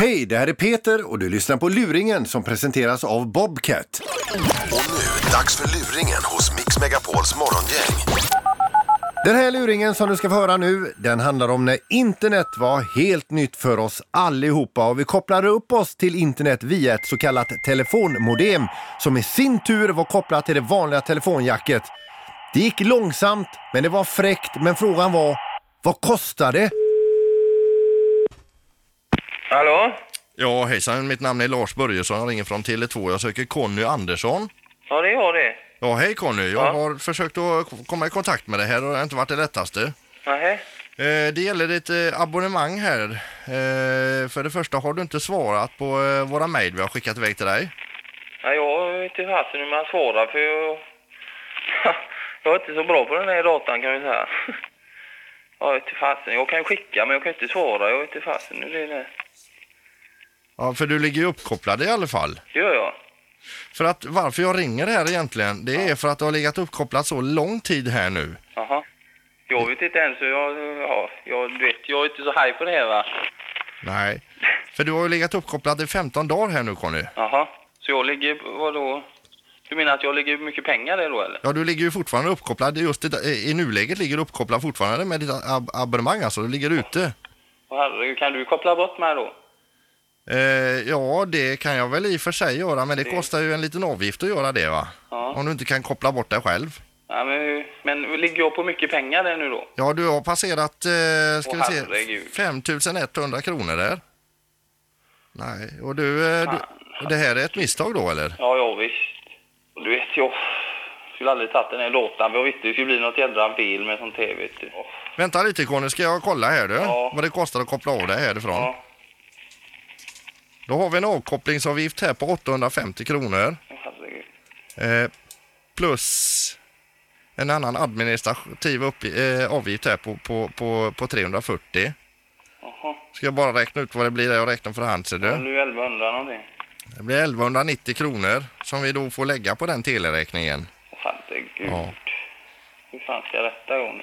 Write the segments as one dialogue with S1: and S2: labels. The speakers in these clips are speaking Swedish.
S1: Hej, det här är Peter och du lyssnar på Luringen som presenteras av Bobcat.
S2: Och nu, dags för luringen hos Mix Megapols morgongäng.
S1: Den här luringen som du ska få höra nu, den handlar om när internet var helt nytt för oss allihopa och vi kopplade upp oss till internet via ett så kallat telefonmodem som i sin tur var kopplat till det vanliga telefonjacket. Det gick långsamt, men det var fräckt. Men frågan var, vad kostar det?
S3: Hallå?
S4: Ja, hejsan. Mitt namn är Lars Börjesson. Jag ringer från Tele2. Jag söker Conny Andersson.
S3: Ja, det är jag det.
S4: Ja, hej Conny. Jag
S3: Ja.
S4: har försökt att k- komma i kontakt med dig här och det har inte varit det lättaste.
S3: Nähä?
S4: Eh, Det gäller ditt eh, abonnemang här. Eh, För det första har du inte svarat på eh, våra mejl vi har skickat iväg till dig.
S3: Nej, jag vet inte fasen hur man svarar för jag... jag är inte så bra på den här datan kan vi säga. Jag vet inte fasen. Jag kan ju skicka men jag kan ju inte svara. Jag vet inte fasen hur det är. där.
S4: Ja, för du ligger ju uppkopplad i alla fall.
S3: Det gör jag.
S4: För att varför jag ringer här egentligen, det är för att du har legat uppkopplad så lång tid här nu.
S3: Jaha. Jag vet inte ens hur jag... Ja, jag, du vet, jag är inte så haj på det här va.
S4: Nej. För du har ju legat uppkopplad i 15 dagar här nu Conny.
S3: Jaha. Så jag ligger... Vadå? Du menar att jag ligger mycket pengar där då eller?
S4: Ja, du ligger ju fortfarande uppkopplad. Just i, I nuläget ligger du uppkopplad fortfarande med ditt ab abonnemang, alltså. Du ligger ute.
S3: Åh, herregud, kan du koppla bort mig då?
S4: Eh, ja, det kan jag väl i och för sig göra, men det kostar ju en liten avgift att göra det, va?
S3: Ja.
S4: Om du inte kan koppla bort dig själv.
S3: Ja, men, hur- men ligger jag på mycket pengar där nu då?
S4: Ja, du har passerat, eh, ska
S3: Åh,
S4: vi
S3: herregud.
S4: se, 5100 kronor där. Nej, och du, eh, du... och Det här är ett misstag då, eller?
S3: Ja, ja visst. Och Du vet, jag skulle aldrig tagit den här låten. för Jag visste det skulle bli något jädra bil med sånt här, vet du.
S4: Vänta lite, Conny, ska jag kolla här du?
S3: Ja.
S4: Vad det kostar att koppla av dig härifrån.
S3: Ja.
S4: Då har vi en avkopplingsavgift här på 850 kronor.
S3: Herregud.
S4: Eh, plus en annan administrativ upp, eh, avgift här på, på, på, på 340.
S3: Jaha.
S4: Ska jag bara räkna ut vad det blir där jag räknar för hand ser
S3: Ja.
S4: du.
S3: Nu är 1100 någonting.
S4: Det blir 1190 kronor som vi då får lägga på den teleräkningen.
S3: Herregud.
S4: Ja.
S3: Hur fan ska detta gå nu?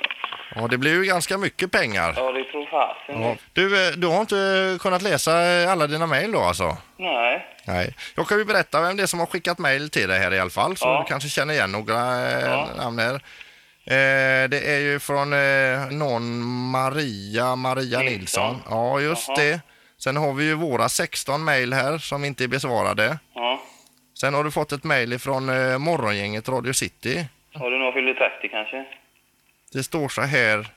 S4: Ja, det blir ju ganska mycket pengar.
S3: Ja, det tror fasen.
S4: Ja. Du, eh, du har inte eh, kunnat läsa eh, alla dina mejl då alltså?
S3: Nej.
S4: Nej. Jag kan ju berätta vem det är som har skickat mejl till dig här i alla fall, så
S3: Ja.
S4: du kanske känner igen några eh,
S3: Ja.
S4: namn här. Eh, det är ju från eh, någon Maria, Maria Nilsson.
S3: Nilsson.
S4: Ja, just
S3: Jaha.
S4: det. Sen har vi ju våra 16 mejl här som inte är besvarade.
S3: Ja.
S4: Sen har du fått ett mejl ifrån eh, morgongänget Radio City.
S3: Har du någon fyller 30 kanske?
S4: Det står så här.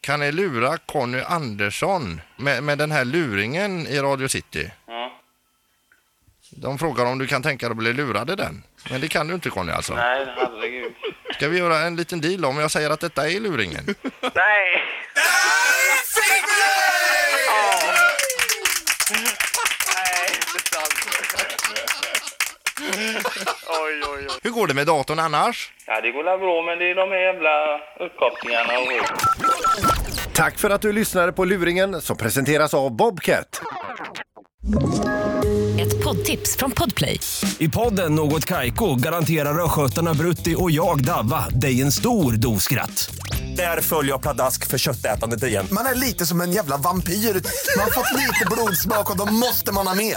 S4: Kan ni lura Conny Andersson med, med den här luringen i Radio City?
S3: Ja.
S4: De frågar om du kan tänka dig att bli lurad i den. Men det kan du inte Conny alltså.
S3: Nej, herregud.
S4: Ska vi göra en liten deal om jag säger att detta är luringen?
S3: Nej! Nej, inte sant. Oj, oj, oj.
S4: Hur går det med datorn annars?
S3: Ja, det går väl bra, men det är de här jävla uppkopplingarna och...
S1: Tack för att du lyssnade på Luringen som presenteras av Bobcat.
S5: Ett poddtips från Podplay.
S6: I podden Något Kaiko garanterar östgötarna Brutti och jag, Davva, dig en stor dos skratt. Där följer jag pladask för köttätandet igen.
S7: Man är lite som en jävla vampyr. Man har fått lite blodsmak och då måste man ha mer.